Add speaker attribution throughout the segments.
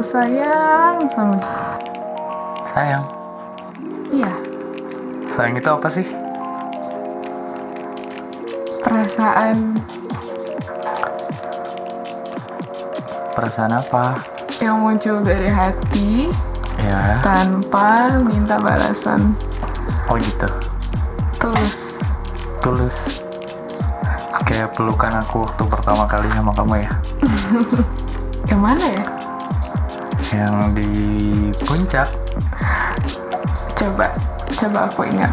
Speaker 1: sayang sama
Speaker 2: Sayang.
Speaker 1: iya
Speaker 2: Sayang itu apa sih?
Speaker 1: perasaan
Speaker 2: Perasaan apa?
Speaker 1: yang muncul dari hati
Speaker 2: Ya.
Speaker 1: tanpa minta balasan
Speaker 2: Oh gitu.
Speaker 1: tulus
Speaker 2: Tulus. Kayak pelukan aku waktu pertama kali sama kamu ya.
Speaker 1: yang mana ya
Speaker 2: Yang di puncak.
Speaker 1: coba coba aku ingat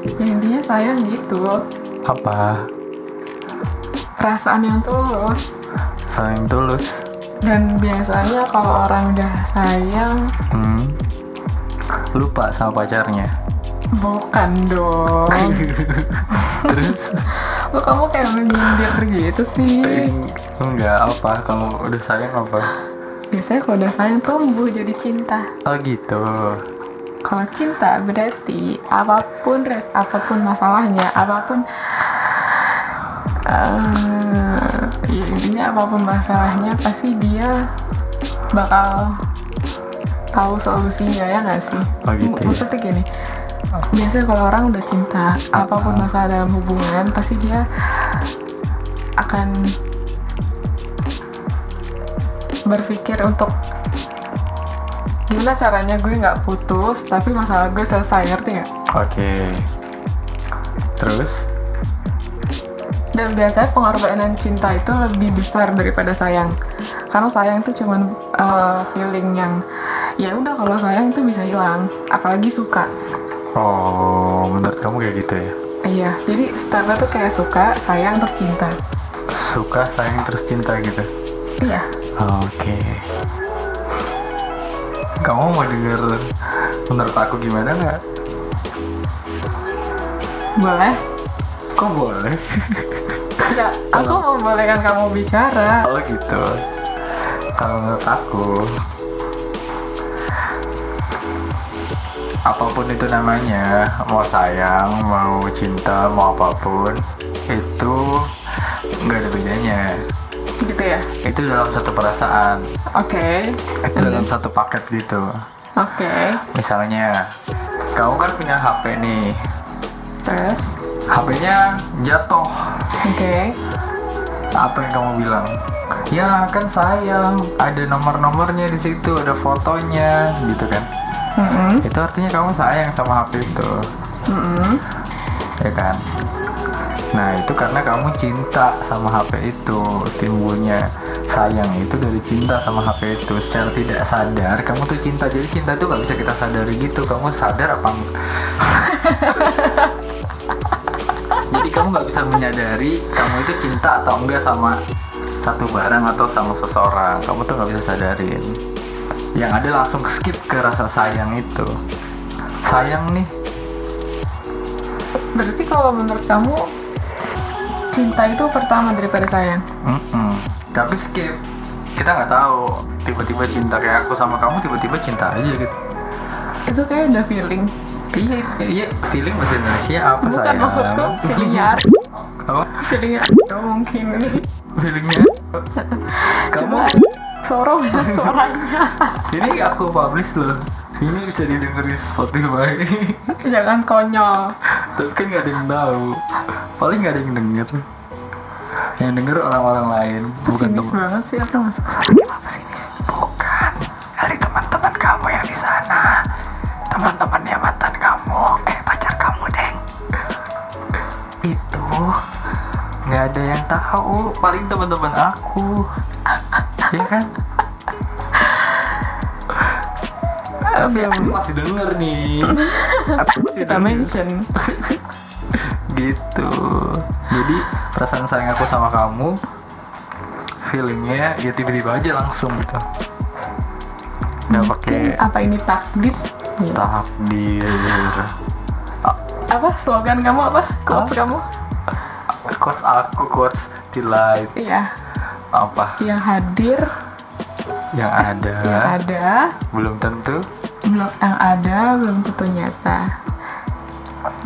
Speaker 1: ya intinya sayang gitu
Speaker 2: Apa?
Speaker 1: perasaan yang tulus
Speaker 2: Sayang tulus.
Speaker 1: dan biasanya kalau orang udah sayang
Speaker 2: Hmm. Lupa sama pacarnya.
Speaker 1: bukan dong
Speaker 2: Terus Iya.
Speaker 1: kok kamu kayak menyindir gitu sih
Speaker 2: enggak apa kalau udah sayang apa?
Speaker 1: biasanya kalau udah sayang tumbuh jadi cinta
Speaker 2: Oh gitu.
Speaker 1: kalau cinta berarti apapun res apapun masalahnya apapun eh, ya intinya apapun masalahnya pasti dia bakal tahu solusinya ya nggak sih
Speaker 2: Oh, gitu
Speaker 1: M-
Speaker 2: ya.
Speaker 1: maksudnya gini biasanya kalau orang udah cinta apapun
Speaker 2: Ah.
Speaker 1: masalah dalam hubungan pasti dia akan berpikir untuk gimana caranya gue nggak putus tapi masalah gue selesai ngerti nggak
Speaker 2: Oke. Terus
Speaker 1: dan biasanya pengorbanan cinta itu lebih besar daripada sayang karena sayang itu cuman eh, feeling yang ya udah kalau sayang itu bisa hilang apalagi suka
Speaker 2: Oh, menurut kamu kayak gitu ya?
Speaker 1: iya jadi stepnya tuh kayak suka sayang terus cinta
Speaker 2: Suka, sayang, terus cinta gitu.
Speaker 1: iya
Speaker 2: Oke. Kamu mau denger menurut aku gimana nggak?
Speaker 1: boleh
Speaker 2: Kok boleh?
Speaker 1: ya aku membolehkan kamu bicara
Speaker 2: Oh gitu. Kalau menurut aku, apapun itu namanya, mau sayang, mau cinta, mau apapun, itu nggak ada bedanya.
Speaker 1: gitu ya
Speaker 2: Itu dalam satu perasaan,
Speaker 1: oke
Speaker 2: itu dalam satu paket gitu.
Speaker 1: oke
Speaker 2: Misalnya, kamu kan punya HP nih,
Speaker 1: terus
Speaker 2: HP-nya jatuh.
Speaker 1: oke
Speaker 2: Apa yang kamu bilang? Ya kan sayang, ada nomor-nomornya di situ, ada fotonya, gitu kan?
Speaker 1: Mm-mm.
Speaker 2: Itu artinya kamu sayang sama HP itu,
Speaker 1: Mm-mm.
Speaker 2: ya kan? Nah itu karena kamu cinta sama HP itu, timbulnya sayang itu dari cinta sama HP itu. Secara tidak sadar, kamu tuh cinta. Jadi cinta tuh nggak bisa kita sadari gitu. Kamu sadar apa? enggak? Jadi kamu nggak bisa menyadari kamu itu cinta atau enggak sama satu barang atau sama seseorang. Kamu tuh nggak bisa sadarin. Yang ada langsung skip ke rasa sayang itu. Sayang nih,
Speaker 1: berarti kalau menurut kamu cinta itu pertama daripada sayang
Speaker 2: Mm-mm. Tapi skip. Kita nggak tahu. Tiba-tiba cinta kayak aku sama kamu, tiba-tiba cinta aja gitu.
Speaker 1: itu kayak udah feeling
Speaker 2: Iya, iya. Feeling bahasa Indonesia apa
Speaker 1: bukan
Speaker 2: sayang?
Speaker 1: maksudku feelingnya ar-
Speaker 2: Apa?
Speaker 1: feelingnya ar- mungkin ini
Speaker 2: Feelingnya? kamu?
Speaker 1: cuma sorong ya, suaranya
Speaker 2: Ini aku publish loh. Ini bisa didengar di Spotify.
Speaker 1: jangan konyol
Speaker 2: Tapi kan nggak ada yang tahu. Paling nggak ada yang denger. Yang denger orang-orang lain, bukan
Speaker 1: pesimis
Speaker 2: teman.
Speaker 1: banget sih aku masuk pesimis
Speaker 2: Bukan kan, dari teman-teman kamu yang di sana. Teman-temannya mantan kamu, eh pacar kamu, Deng. Itu nggak ada yang tahu, paling teman-teman aku. Iya kan?
Speaker 1: Eh,
Speaker 2: Tapi aku masih denger nih. Aku masih
Speaker 1: kita
Speaker 2: denger.
Speaker 1: mention
Speaker 2: gitu. Jadi perasaan sayang aku sama kamu feelingnya ya tiba-tiba aja langsung gitu. Gak pakai
Speaker 1: apa ini takdir
Speaker 2: Iya. takdir
Speaker 1: apa slogan kamu apa quotes
Speaker 2: Apa?
Speaker 1: kamu
Speaker 2: quotes aku quotes delight
Speaker 1: iya
Speaker 2: apa
Speaker 1: yang hadir
Speaker 2: yang ada
Speaker 1: yang ada
Speaker 2: belum tentu
Speaker 1: belum yang ada belum tentu nyata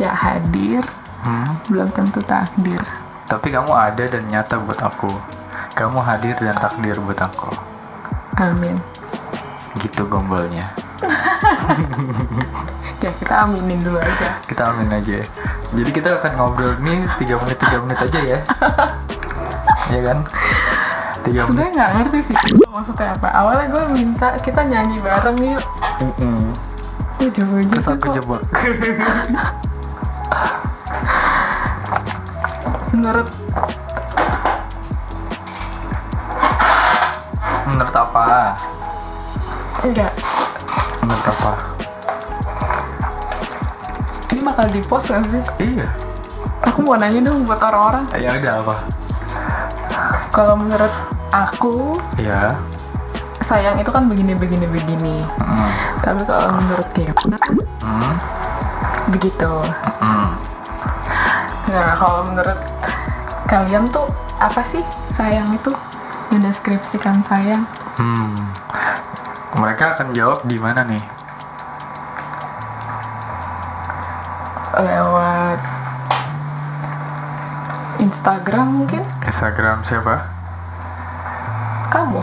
Speaker 1: yang hadir
Speaker 2: Hmm,
Speaker 1: belum tentu takdir
Speaker 2: tapi kamu ada dan nyata buat aku Kamu hadir dan takdir buat aku.
Speaker 1: Amin.
Speaker 2: Gitu gombalnya.
Speaker 1: Ya kita aminin dulu aja.
Speaker 2: Kita amin aja ya. Jadi kita akan ngobrol nih 3 menit 3 menit aja ya. Iya kan? 3 menit.
Speaker 1: Sebenarnya nggak ngerti sih maksudnya apa. Awalnya gue minta kita nyanyi bareng yuk.
Speaker 2: Mm-mm.
Speaker 1: Ujung-ujungnya
Speaker 2: Terus
Speaker 1: kok
Speaker 2: aku jebak.
Speaker 1: menurut
Speaker 2: Menurut apa?
Speaker 1: enggak
Speaker 2: Menurut apa?
Speaker 1: ini bakal di post gak sih?
Speaker 2: Iya.
Speaker 1: Aku mau nanya dong buat orang-orang.
Speaker 2: Ya udah apa?
Speaker 1: Kalau menurut aku
Speaker 2: Iya.
Speaker 1: sayang itu kan begini begini begini.
Speaker 2: Mm.
Speaker 1: Tapi kalau menurut Gimna
Speaker 2: Mm.
Speaker 1: begitu.
Speaker 2: Mm.
Speaker 1: Nah kalau menurut kalian tuh apa sih sayang itu? Mendeskripsikan sayang.
Speaker 2: Hmm. Mereka akan jawab di mana nih?
Speaker 1: lewat Instagram mungkin
Speaker 2: Instagram siapa?
Speaker 1: kamu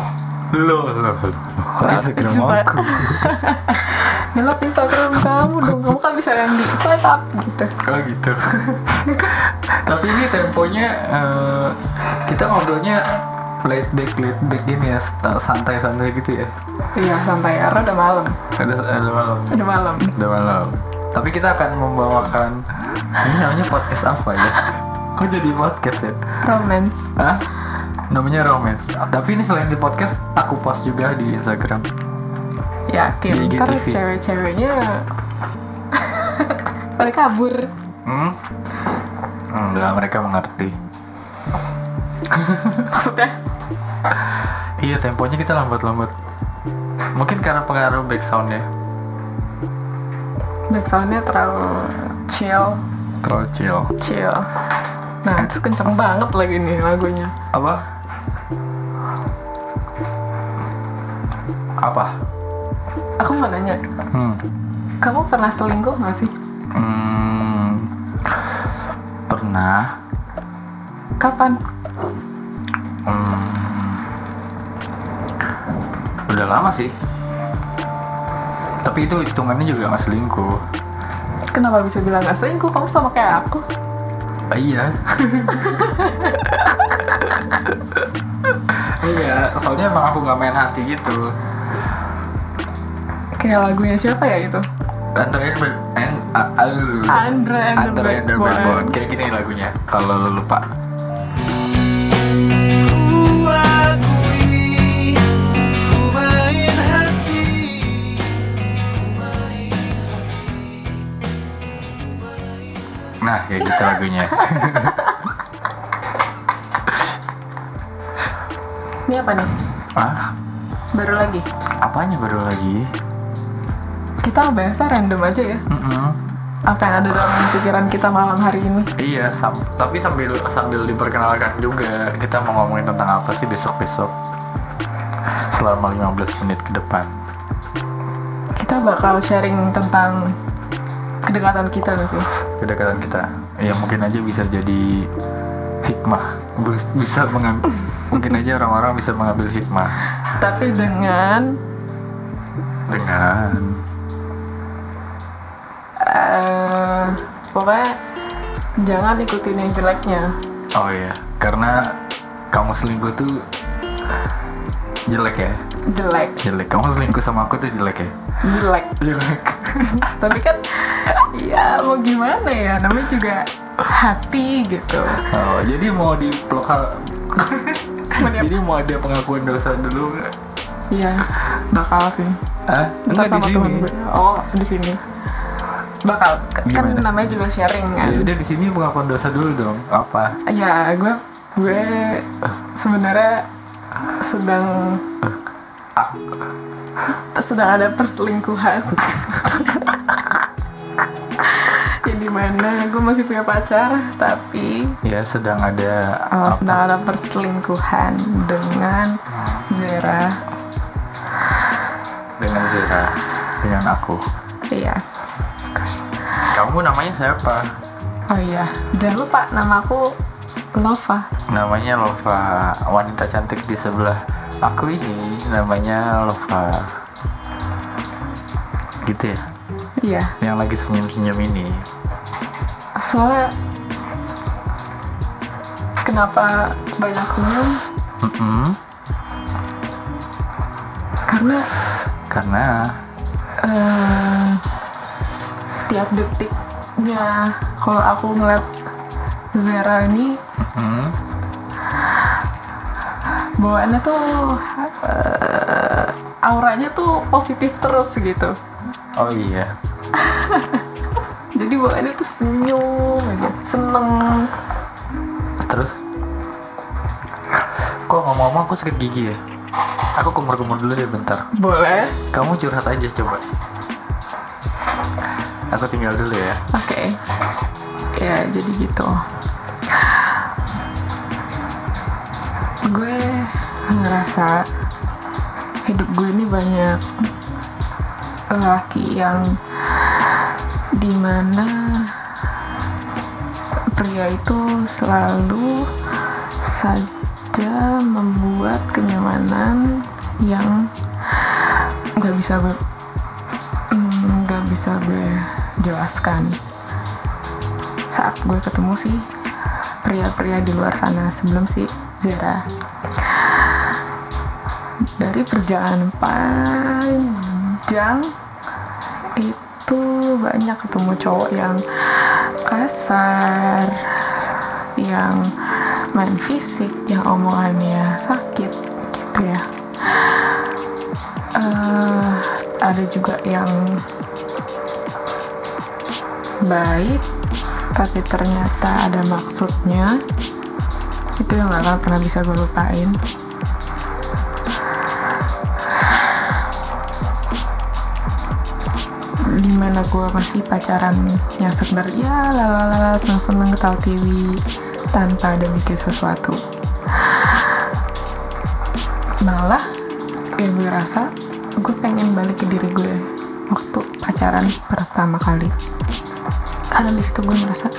Speaker 2: Lo, lo. Kok Instagram aku?
Speaker 1: ngelap Instagram kamu dong kamu kan bisa yang di swipe up gitu
Speaker 2: Oh gitu. Tapi ini temponya eh, kita ngobrolnya laid back laid back gini ya, sta- santai-santai gitu ya.
Speaker 1: iya santai karena udah malam
Speaker 2: Ada ada malam.
Speaker 1: udah malam
Speaker 2: Ada malam. Tapi kita akan membawakan ini namanya podcast apa ya? Kok jadi podcast ya?
Speaker 1: romance
Speaker 2: Hah? Namanya romance. Tapi ini selain di podcast, aku post juga di Instagram.
Speaker 1: yakin
Speaker 2: Di
Speaker 1: Ya, ntar
Speaker 2: IGTV.
Speaker 1: cewek-ceweknya pada kabur
Speaker 2: Hmm? Enggak, mereka mengerti.
Speaker 1: maksudnya
Speaker 2: Iya, temponya kita lambat-lambat. Mungkin karena pengaruh backsound ya.
Speaker 1: backsoundnya terlalu chill
Speaker 2: Terlalu chill.
Speaker 1: chill nah itu kenceng banget lagi nih lagunya
Speaker 2: Apa? Apa?
Speaker 1: aku mau nanya
Speaker 2: Hmm.
Speaker 1: kamu pernah selingkuh gak sih
Speaker 2: Hmm. Pernah.
Speaker 1: kapan
Speaker 2: Udah lama sih. Tapi itu hitungannya juga nggak selingkuh.
Speaker 1: Kenapa bisa bilang gak selingkuh? Kamu sama kayak aku.
Speaker 2: Ah, iya. Iya, soalnya emang aku nggak main hati gitu.
Speaker 1: Kayak lagunya siapa ya itu?
Speaker 2: Andre and the- and uh, uh,
Speaker 1: Andre and the
Speaker 2: Andre and the
Speaker 1: Backbone.
Speaker 2: Backbone. Kayak gini lagunya. Kalau lu lupa.
Speaker 3: Ku akui, ku main hati, ku main
Speaker 2: Nah, kayak gitu lagunya.
Speaker 1: Ini apa nih?
Speaker 2: Hah?
Speaker 1: Baru lagi.
Speaker 2: Apanya baru lagi?
Speaker 1: Kita bahasa random aja ya.
Speaker 2: Mm-mm.
Speaker 1: Apa yang ada dalam pikiran kita malam hari ini?
Speaker 2: Iya, sam- tapi sambil sambil diperkenalkan juga kita mau ngomongin tentang apa sih besok-besok selama 15 menit ke depan.
Speaker 1: Kita bakal sharing tentang kedekatan kita gak sih?
Speaker 2: kedekatan kita ya mungkin aja bisa jadi hikmah Bus- bisa mengambil mungkin aja orang-orang bisa mengambil hikmah
Speaker 1: Tapi dengan
Speaker 2: dengan
Speaker 1: eh pokoknya jangan ikutin yang jeleknya.
Speaker 2: oh iya karena kamu selingkuh tuh jelek ya
Speaker 1: Jelek,
Speaker 2: jelek kamu selingkuh sama aku tuh jelek ya
Speaker 1: jelek.
Speaker 2: jelek
Speaker 1: Tapi kan ya mau gimana ya? Namanya juga hati gitu.
Speaker 2: oh, jadi mau di
Speaker 1: Mending-
Speaker 2: jadi mau ada pengakuan dosa dulu nggak?
Speaker 1: Iya, bakal sih.
Speaker 2: Hah?
Speaker 1: Ntar
Speaker 2: Enggak di
Speaker 1: sama
Speaker 2: sini.
Speaker 1: temen gue. Oh, di sini. Bakal kan
Speaker 2: Gimana?
Speaker 1: namanya juga sharing kan.
Speaker 2: Ya udah di sini pengakuan dosa dulu dong. Apa?
Speaker 1: Ya, gue gue sebenarnya sedang sedang ada perselingkuhan. Yang dimana gue masih punya pacar, tapi
Speaker 2: Ya sedang ada
Speaker 1: uh,
Speaker 2: apa?
Speaker 1: sedang ada perselingkuhan dengan Zera.
Speaker 2: dengan Zira, dengan aku.
Speaker 1: Yes.
Speaker 2: Kamu namanya siapa?
Speaker 1: Oh iya, jangan lupa nama aku Lova.
Speaker 2: namanya Lova wanita cantik di sebelah aku ini namanya Lova gitu ya
Speaker 1: Iya.
Speaker 2: yang lagi senyum-senyum ini
Speaker 1: Soalnya kenapa banyak senyum?
Speaker 2: Mm-mm.
Speaker 1: Karena
Speaker 2: karena
Speaker 1: eh, setiap detiknya kalau aku ngeliat Zara ini
Speaker 2: mm,
Speaker 1: bawaannya tuh eh, auranya tuh positif terus gitu.
Speaker 2: oh iya
Speaker 1: Jadi bawaannya tuh senyum aja, seneng.
Speaker 2: terus kok ngomong-ngomong aku sakit gigi ya aku kumur-kumur dulu deh bentar
Speaker 1: Boleh.
Speaker 2: kamu curhat aja coba aku tinggal dulu ya
Speaker 1: Oke. Ya, jadi gitu. Gue ngerasa hidup gue ini banyak lelaki yang dimana pria itu selalu saja membuat kenyamanan yang nggak bisa gue Hmm, nggak bisa gue jelaskan saat gue ketemu sih pria-pria di luar sana sebelum si Zera dari perjalanan panjang itu banyak ketemu cowok yang kasar yang main fisik yang omongannya sakit gitu ya eh ada juga yang baik tapi ternyata ada maksudnya itu yang gak akan pernah bisa gue lupain dimana gue masih pacaran yang sekedar ya lalalala seneng-seneng ketawa TV tanpa ada mikir sesuatu malah yang gue rasa gue pengen balik ke diri gue waktu pacaran pertama kali karena di situ gue merasa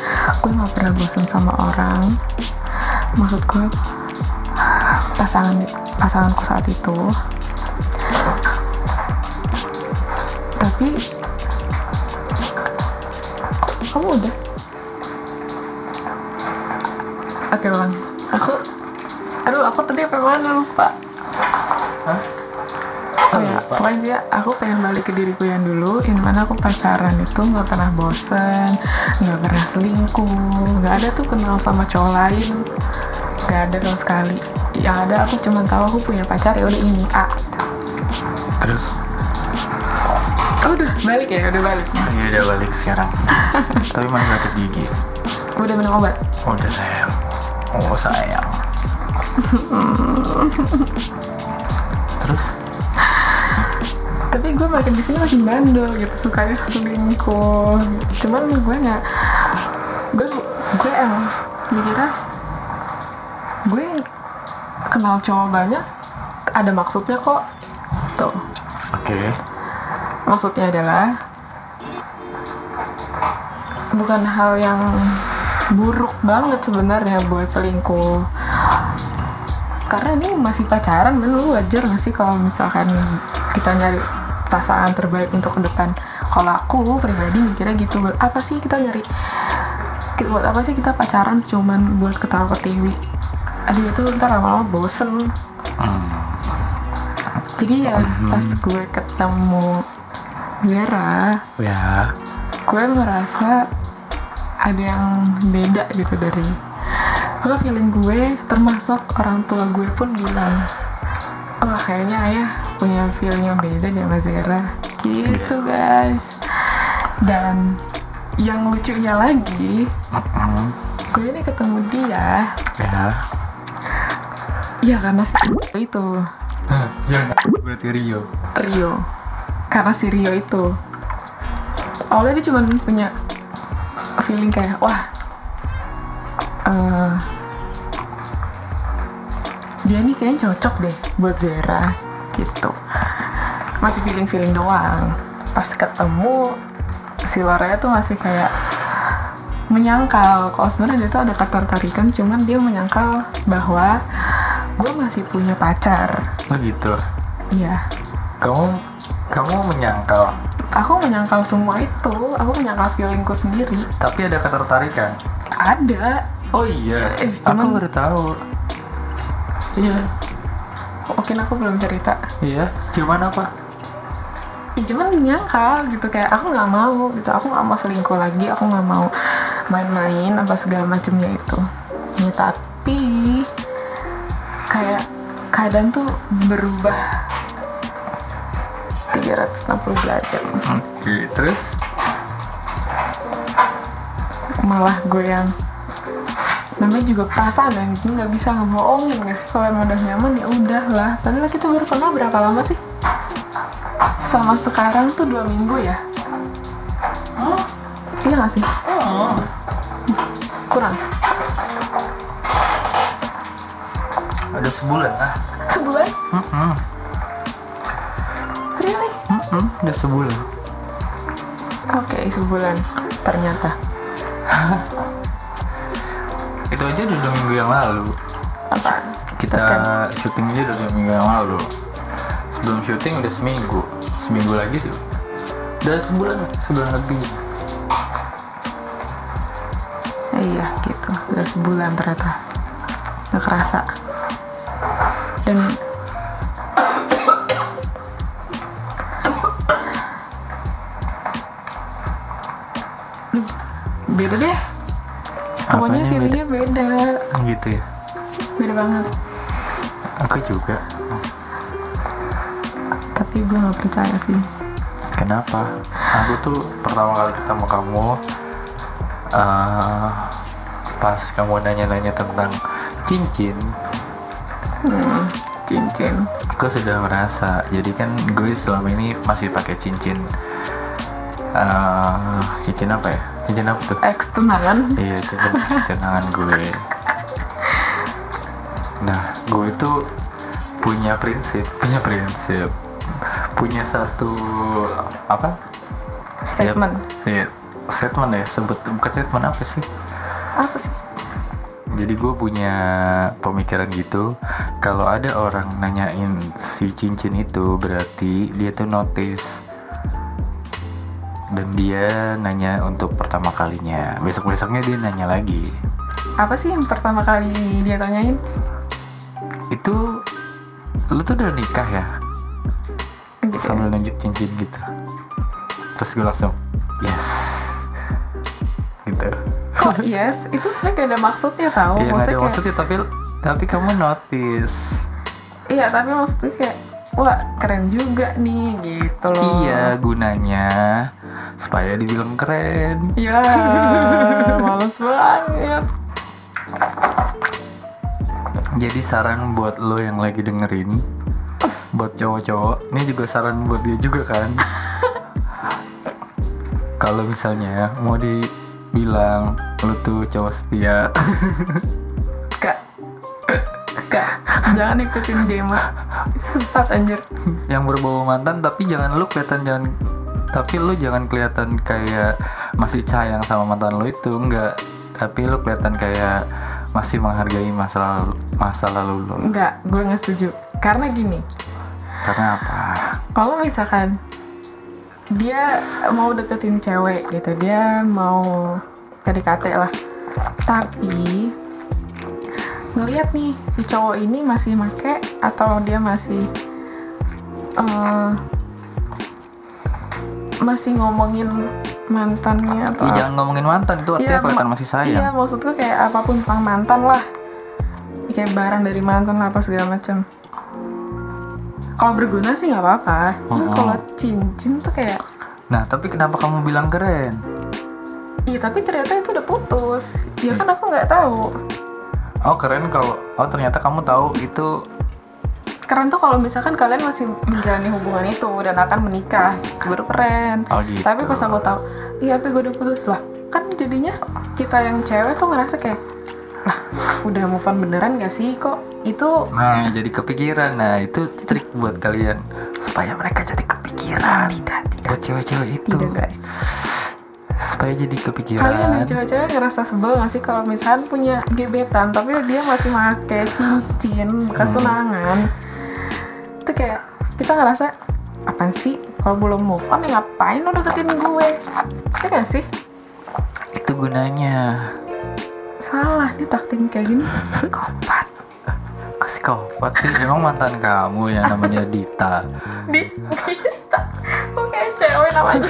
Speaker 1: gue nggak pernah bosan sama orang maksud gue pasangan pasanganku saat itu tapi kok kamu udah oke bang aku aduh aku tadi apa mana lupa
Speaker 2: Hah?
Speaker 1: Oh ya,
Speaker 2: Lupa.
Speaker 1: pokoknya dia, aku pengen balik ke diriku yang dulu, yang mana aku pacaran itu nggak pernah bosen, nggak pernah selingkuh, nggak ada tuh kenal sama cowok lain, nggak ada sama sekali. Yang ada aku cuma tahu aku punya pacar ya udah ini A.
Speaker 2: terus
Speaker 1: Oh, udah balik ya, udah balik.
Speaker 2: ya udah balik sekarang tapi masih sakit gigi
Speaker 1: Udah minum obat.
Speaker 2: udah sayang oh sayang terus
Speaker 1: Tapi gue makin di sini makin bandel gitu, sukanya selingkuh. Cuman gue nggak, gue gue emang mikirnya gue kenal cowok banyak, ada maksudnya kok. Tuh.
Speaker 2: oke
Speaker 1: maksudnya adalah bukan hal yang buruk banget sebenarnya buat selingkuh karena ini masih pacaran men lu wajar gak sih kalau misalkan kita nyari pasangan terbaik untuk ke depan kalau aku pribadi mikirnya gitu buat apa sih kita nyari ki- buat apa sih kita pacaran cuman buat ketawa ketiwi aduh itu ntar lama-lama bosen jadi ya pas gue ketemu Zera
Speaker 2: ya
Speaker 1: gue merasa ada yang beda gitu dari gue feeling gue termasuk orang tua gue pun bilang wah kayaknya ayah punya feeling yang beda deh sama Zera gitu guys dan yang lucunya lagi
Speaker 2: Mm,
Speaker 1: gue ini ketemu dia
Speaker 2: ya
Speaker 1: ya karena si itu
Speaker 2: Hah, jangan berarti Rio
Speaker 1: Rio karena si Rio itu awalnya dia cuma punya feeling kayak wah eh, dia nih kayaknya cocok deh buat Zera gitu masih feeling feeling doang pas ketemu si Lorenya tuh masih kayak menyangkal kalau sebenarnya dia tuh ada ketertarikan cuman dia menyangkal bahwa gue masih punya pacar
Speaker 2: Oh gitu.
Speaker 1: iya
Speaker 2: Kamu kamu menyangkal,
Speaker 1: aku menyangkal semua itu aku menyangkal feelingku sendiri
Speaker 2: tapi ada ketertarikan.
Speaker 1: ada
Speaker 2: Oh iya,
Speaker 1: Eh,
Speaker 2: aku
Speaker 1: cuman-
Speaker 2: baru tahu. Iya,
Speaker 1: mungkin aku belum cerita
Speaker 2: iya. Cuman apa?
Speaker 1: ya cuman menyangkal gitu kayak aku nggak mau gitu aku nggak mau selingkuh lagi aku nggak mau main-main apa segala macamnya itu ya tapi kayak keadaan tuh berubah 360 derajat
Speaker 2: Oke, terus
Speaker 1: malah gue yang namanya juga perasaan dan nggak bisa ngebohongin nggak sih kalau emang udah nyaman ya udahlah tapi lah kita baru kenal berapa lama sih sama sekarang tuh dua minggu ya iya nggak sih kurang
Speaker 2: ada sebulan lah.
Speaker 1: sebulan
Speaker 2: Mm-mm, Mm.
Speaker 1: really
Speaker 2: mm-mm, udah sebulan.
Speaker 1: oke sebulan ternyata
Speaker 2: Itu aja udah dua minggu yang lalu.
Speaker 1: apa
Speaker 2: Kita syuting aja udah dua minggu yang lalu. Sebelum syuting udah seminggu, seminggu lagi sih. Dan sebulan, sebulan lebih.
Speaker 1: iya gitu udah sebulan ternyata nggak kerasa dan Duh, beda deh pokoknya
Speaker 2: Apanya beda?
Speaker 1: feelingnya beda
Speaker 2: Gitu ya.
Speaker 1: beda banget
Speaker 2: Aku juga.
Speaker 1: tapi gue nggak percaya sih
Speaker 2: Kenapa? Aku tuh pertama kali ketemu kamu eh, pas kamu nanya-nanya tentang cincin,
Speaker 1: hmm, cincin
Speaker 2: aku sudah merasa. Jadi kan gue selama ini masih pakai cincin. eh, cincin apa ya? Cincin apa tuh?
Speaker 1: X tunangan
Speaker 2: Iya, cincin emas di tangan gue. Nah, gue tuh punya prinsip, punya prinsip, punya satu apa?
Speaker 1: statement
Speaker 2: Iya, statement ya, sebut bukan statement apa sih?
Speaker 1: apa sih
Speaker 2: Jadi gue punya pemikiran gitu, kalau ada orang nanyain si cincin itu berarti dia tuh notice dan dia nanya untuk pertama kalinya. Besok besoknya dia nanya lagi.
Speaker 1: apa sih yang pertama kali dia tanyain
Speaker 2: Itu lu tuh udah nikah ya?
Speaker 1: gitu
Speaker 2: Sambil nunjuk cincin gitu. Terus gue langsung yes gitu.
Speaker 1: kok Oh, yes itu sebenarnya gak ada Oh, maksudnya tau
Speaker 2: Iya nggak ada
Speaker 1: kayak-
Speaker 2: maksudnya tapi tapi kamu notice.
Speaker 1: Iya, tapi maksudnya kayak wah keren juga nih gitu loh.
Speaker 2: Iya gunanya supaya dibilang keren.
Speaker 1: Ya, males banget.
Speaker 2: Jadi saran buat lo yang lagi dengerin, buat cowok-cowok, ini juga saran buat dia juga kan. Kalau misalnya mau dibilang lo tuh cowok setia,
Speaker 1: Kak. Kak, jangan ikutin gamer. Sesat anjir.
Speaker 2: yang berbau mantan tapi jangan lu kelihatan jangan tapi lu jangan kelihatan kayak masih sayang sama mantan lu itu enggak tapi lu kelihatan kayak masih menghargai masa lalu masa lalu lu
Speaker 1: Enggak, gue nggak setuju. Karena gini,
Speaker 2: karena apa
Speaker 1: kalau misalkan dia mau deketin cewek gitu, dia mau PDKT lah. Tapi ngelihat nih si cowok ini masih make atau dia masih eh, masih ngomongin mantannya atau
Speaker 2: Ih, jangan ngomongin mantan itu artinya
Speaker 1: Iya,
Speaker 2: kelihatan
Speaker 1: ma-
Speaker 2: masih sayang
Speaker 1: Iya, maksud gue kayak apapun tentang mantan lah. Kayak barang dari mantan lah, apa segala macam. Kalau berguna sih nggak apa-apa. Nah,
Speaker 2: Mm-mm.
Speaker 1: kalau cincin tuh kayak
Speaker 2: nah tapi kenapa kamu bilang keren
Speaker 1: Iya tapi ternyata itu udah putus. Ya kan aku nggak tahu.
Speaker 2: oh keren kalau oh ternyata kamu tahu itu
Speaker 1: Keren tuh kalau misalkan kalian masih menjalani hubungan itu dan akan menikah, baru keren.
Speaker 2: Oh, gitu.
Speaker 1: Tapi pas aku tahu, iya tapi gue udah putus lah. Kan jadinya kita yang cewek tuh ngerasa kayak, lah udah move on beneran gak sih kok itu
Speaker 2: nah jadi kepikiran nah itu trik buat kalian supaya mereka jadi kepikiran
Speaker 1: tidak tidak
Speaker 2: gitu. buat cewek-cewek itu
Speaker 1: tidak guys
Speaker 2: Kenapa ya jadi kepikiran?
Speaker 1: Kalian yang cewek-cewek ngerasa sebel gak sih kalau misalkan punya gebetan tapi dia masih make cincin bekas tunangan? Itu kayak kita ngerasa apaan sih? Kalau belum move on ya ngapain lo deketin gue? Iya gak sih?
Speaker 2: Itu gunanya.
Speaker 1: Salah nih taktik kayak gini. Kompat.
Speaker 2: Psikopat sih. Emang mantan kamu yang namanya Dita.
Speaker 1: Di kita. Kok kayak cewek namanya?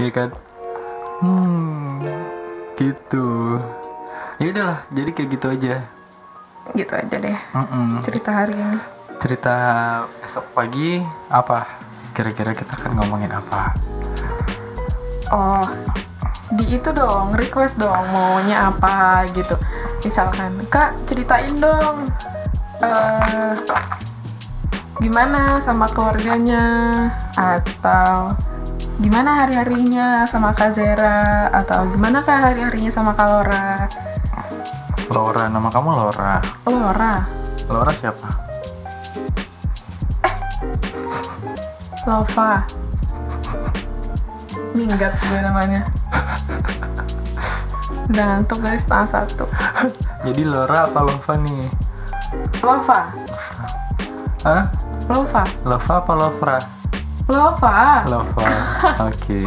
Speaker 2: Iya kan? Hmm. Gitu. Ya udahlah, jadi kayak gitu aja.
Speaker 1: Gitu aja deh
Speaker 2: Mm-mm.
Speaker 1: cerita hari ini.
Speaker 2: Cerita esok pagi apa? Kira-kira kita kan ngomongin apa?
Speaker 1: Oh, di itu dong, request dong maunya apa gitu. Misalkan, Kak, ceritain dong eh gimana sama keluarganya atau gimana hari-harinya sama Kak Zera atau gimana Kak hari-harinya sama Kak Lora.
Speaker 2: Laura, nama kamu Laura.
Speaker 1: Lora,
Speaker 2: Laura siapa?
Speaker 1: Lova. Minggat gue namanya. Udah ngantuk guys, setengah satu.
Speaker 2: Jadi Laura apa Lova nih?
Speaker 1: Lova,
Speaker 2: Hah?
Speaker 1: Lova,
Speaker 2: Lova apa Lovra?
Speaker 1: Lova.
Speaker 2: Lova. Oke.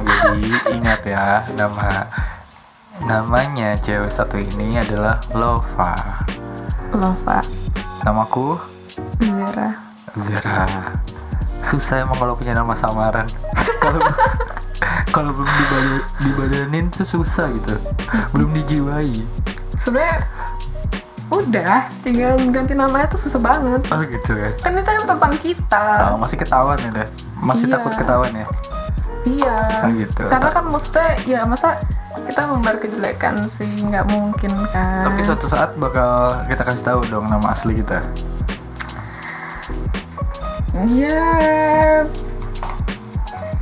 Speaker 2: Jadi ingat ya nama namanya cewek satu ini adalah Lova.
Speaker 1: Lova
Speaker 2: Namaku
Speaker 1: Zera
Speaker 2: Zera. Susah emang kalau punya nama samaran. Kalau kalau belum dibada- dibadanin tuh susah gitu. Belum dijiwai.
Speaker 1: sebenarnya udah tinggal ganti namanya tuh susah banget
Speaker 2: Oh gitu ya.
Speaker 1: kan itu kan tentang kita
Speaker 2: Ah, masih ketahuan ya deh. Masih
Speaker 1: Iya.
Speaker 2: takut ketahuan ya.
Speaker 1: iya
Speaker 2: Oh, gitu.
Speaker 1: karena kan maksudnya ya masa kita membar kejelekan sih nggak mungkin kan
Speaker 2: Tapi suatu saat bakal kita kasih tahu dong nama asli kita.
Speaker 1: iya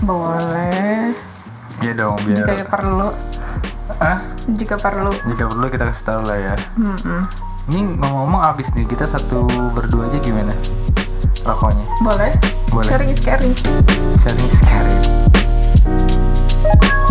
Speaker 1: boleh
Speaker 2: Iya dong
Speaker 1: jika
Speaker 2: biar.
Speaker 1: perlu
Speaker 2: Ah,
Speaker 1: jika perlu
Speaker 2: jika perlu kita kasih tahu lah ya.
Speaker 1: Mm-mm.
Speaker 2: Ini ngomong-ngomong abis nih kita satu berdua aja gimana? Rokoknya
Speaker 1: boleh
Speaker 2: Boleh.
Speaker 1: sharing is caring
Speaker 2: sharing sekali.